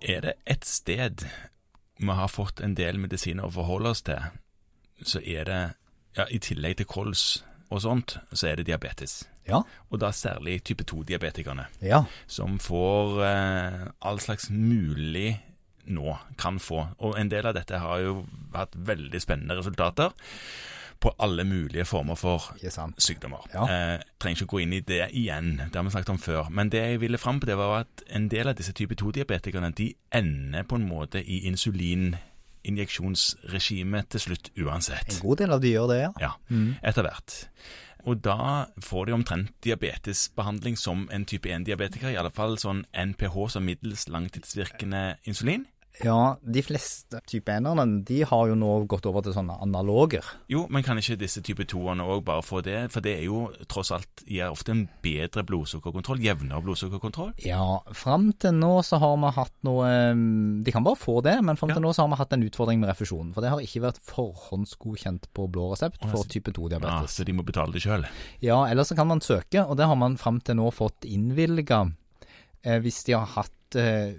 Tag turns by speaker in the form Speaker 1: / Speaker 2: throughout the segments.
Speaker 1: er det ett sted vi har fått en del medisiner å forholde oss til, så er det, ja, i tillegg til kols og sånt, så er det diabetes.
Speaker 2: Ja.
Speaker 1: Og da særlig type 2-diabetikerne,
Speaker 2: Ja.
Speaker 1: som får eh, all slags mulig nå kan få. Og en del av dette har jo hatt veldig spennende resultater på alle mulige former for
Speaker 2: Ikke sant.
Speaker 1: sykdommer.
Speaker 2: Ja.
Speaker 1: Eh, trenger ikke gå inn i det igjen, det har vi snakket om før. Men det jeg ville fram på, det var at en del av disse type 2-diabetikerne de ender på en måte i insulininjeksjonsregimet til slutt uansett.
Speaker 2: En god Mm. del av de gjør det, ja.
Speaker 1: Ja, etter hvert. Og da får de omtrent diabetesbehandling som en type 1-diabetiker, i alle fall sånn NPH som middels langtidsvirkende insulin.
Speaker 2: Ja, de fleste type 1-erne de har jo nå gått over til sånne analoger.
Speaker 1: Jo, men kan ikke disse type 2-erne òg bare få det? For det er jo tross alt gir ofte en bedre blodsukkerkontroll, jevnere blodsukkerkontroll.
Speaker 2: Ja, fram til nå så har vi hatt noe eh, De kan bare få det, men fram til
Speaker 1: Ja.
Speaker 2: nå så har vi hatt en utfordring med refusjonen. For det har ikke vært forhåndsgodkjent på blå resept for type
Speaker 1: Ja,
Speaker 2: 2-diabetes.
Speaker 1: så altså. de må betale det sjøl.
Speaker 2: Ja, ellers så kan man søke, og det har man fram til nå fått innvilga eh, hvis de har hatt eh,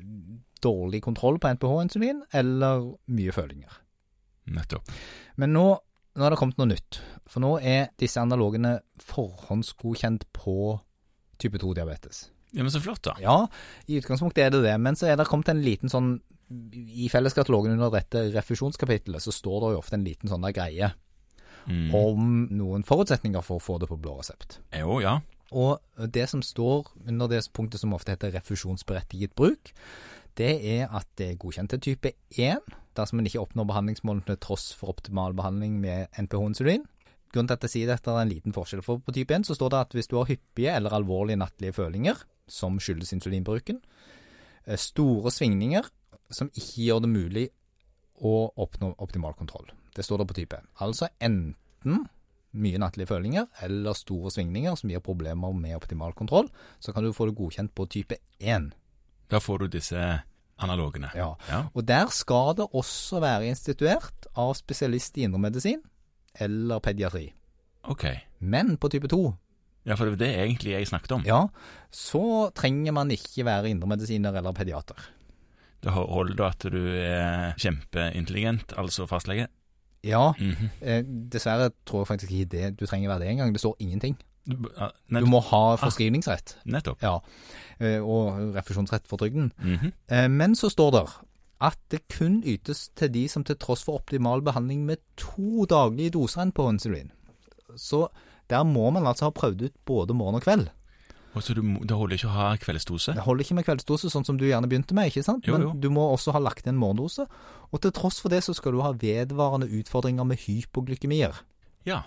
Speaker 2: dårlig kontroll på NPH-insulin eller mye følinger.
Speaker 1: Nettopp.
Speaker 2: Men nå, nå har det kommet noe nytt. For nå er disse analogene forhåndsgodkjent på type 2-diabetes.
Speaker 1: Ja, men så flott, da.
Speaker 2: Ja, i utgangspunktet er det det, men så er det kommet en liten sånn I felleskatalogen under dette refusjonskapitlet så står det jo ofte en liten sånn der greie
Speaker 1: Mm. Eh,
Speaker 2: om noen forutsetninger for å få det på blå resept.
Speaker 1: Jo, ja.
Speaker 2: Og det som står under det punktet som ofte heter refusjonsberettiget bruk, det er at det er godkjent til type 1 dersom en ikke oppnår behandlingsmålene til tross for optimal behandling med NPH-insulin. Grunnen til at jeg sier dette er en liten forskjell, for på type 1 så står det at hvis du har hyppige eller alvorlige nattlige følinger, som skyldes insulinbruken, eh, store svingninger som ikke gjør det mulig å oppnå optimal kontroll. Det står det på type 1. Altså enten mye nattlige følinger eller store svingninger som gir problemer med optimal kontroll, så kan du få det godkjent på type 1.
Speaker 1: Da får du disse analogene.
Speaker 2: Ja.
Speaker 1: Ja.
Speaker 2: Og der skal det også være instituert av spesialist i indremedisin eller pediatri.
Speaker 1: OK.
Speaker 2: Men på type 2,
Speaker 1: Ja, for det var det egentlig jeg snakket om.
Speaker 2: ja, så trenger man ikke være indremedisiner eller pediater.
Speaker 1: Det holder da at du er kjempeintelligent, altså fastlege.
Speaker 2: Ja,
Speaker 1: Mhm.
Speaker 2: eh, dessverre tror jeg faktisk ikke det du trenger være det engang. Det står ingenting.
Speaker 1: Du b- ja,
Speaker 2: Du
Speaker 1: nett-
Speaker 2: må ha forskrivningsrett.
Speaker 1: Nettopp.
Speaker 2: Ja, eh, og refusjonsrett for trygden.
Speaker 1: Mhm.
Speaker 2: Eh, Men så står det at det kun ytes til de som til tross for optimal behandling med to daglige doser enn på insulin. Så der må man altså ha prøvd ut både morgen og kveld.
Speaker 1: Og så du, må- det holder ikke å ha kveldsdose?
Speaker 2: Det holder ikke med kveldsdose, sånn som du gjerne begynte med, ikke sant?
Speaker 1: Jo, jo.
Speaker 2: Men du må også ha lagt inn morgendose. Og til tross for det så skal du ha vedvarende utfordringer med hypoglykemier.
Speaker 1: Ja.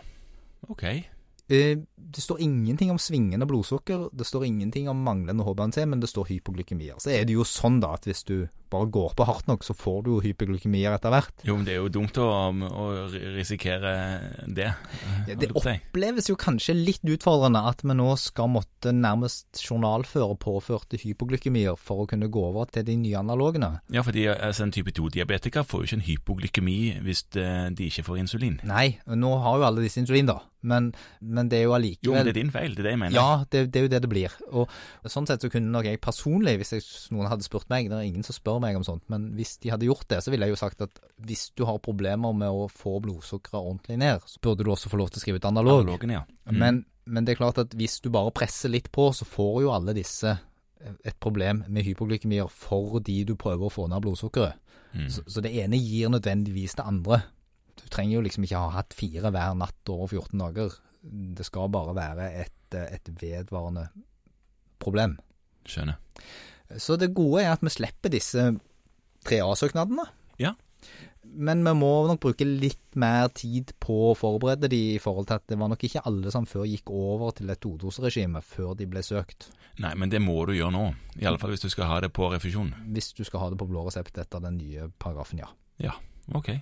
Speaker 1: Ok.
Speaker 2: Eh, Det står ingenting om svingende blodsukker, det står ingenting om manglende HbA1c, men det står hypoglykemier. Så er det jo sånn da at hvis du bare går på hardt nok, så får du jo hypoglykemier etter hvert.
Speaker 1: Jo, men det er jo dumt å, å ri- risikere det.
Speaker 2: Ja,
Speaker 1: holdt jeg
Speaker 2: det
Speaker 1: på å si.
Speaker 2: oppleves jo kanskje litt utfordrende at vi nå skal måtte nærmest journalføre påførte hypoglykemier for å kunne gå over til de nye analogene.
Speaker 1: Ja, fordi altså, en type 2-diabetiker får jo ikke en hypoglykemi hvis de, de ikke får insulin.
Speaker 2: Nei, nå har jo alle disse insulin, da, men, men det er jo
Speaker 1: Jo, men
Speaker 2: allikevel
Speaker 1: det er din feil, det er det jeg mener.
Speaker 2: ja, det, det er jo det det blir. Og Sånn sett så kunne nok jeg personlig, hvis jeg, noen hadde spurt meg, det er ingen som spør meg om sånt, men hvis de hadde gjort det, så ville jeg jo sagt at hvis du har problemer med å få blodsukkeret ordentlig ned, så burde du også få lov til å skrive ut analog.
Speaker 1: Analogen, ja.
Speaker 2: Men, men det er klart at hvis du bare presser litt på, så får jo alle disse eh, et problem med hypoglykemier fordi du prøver å få ned blodsukkeret.
Speaker 1: Mm.
Speaker 2: Så, så det ene gir nødvendigvis det andre. Du trenger jo liksom ikke ha hatt fire hver natt over 14 dager. Det skal bare være et, eh, et vedvarende problem.
Speaker 1: Skjønner.
Speaker 2: Så det gode er at vi slipper disse 3A-søknadene.
Speaker 1: Ja.
Speaker 2: Men vi må nok bruke litt mer tid på å forberede de i forhold til at det var nok ikke alle som før gikk over til et todoseregime før de ble søkt,
Speaker 1: Nei, men det må du gjøre nå. I alle fall hvis du skal ha det på refusjon.
Speaker 2: hvis du skal ha det på blå resept etter den nye paragrafen, ja.
Speaker 1: Ok.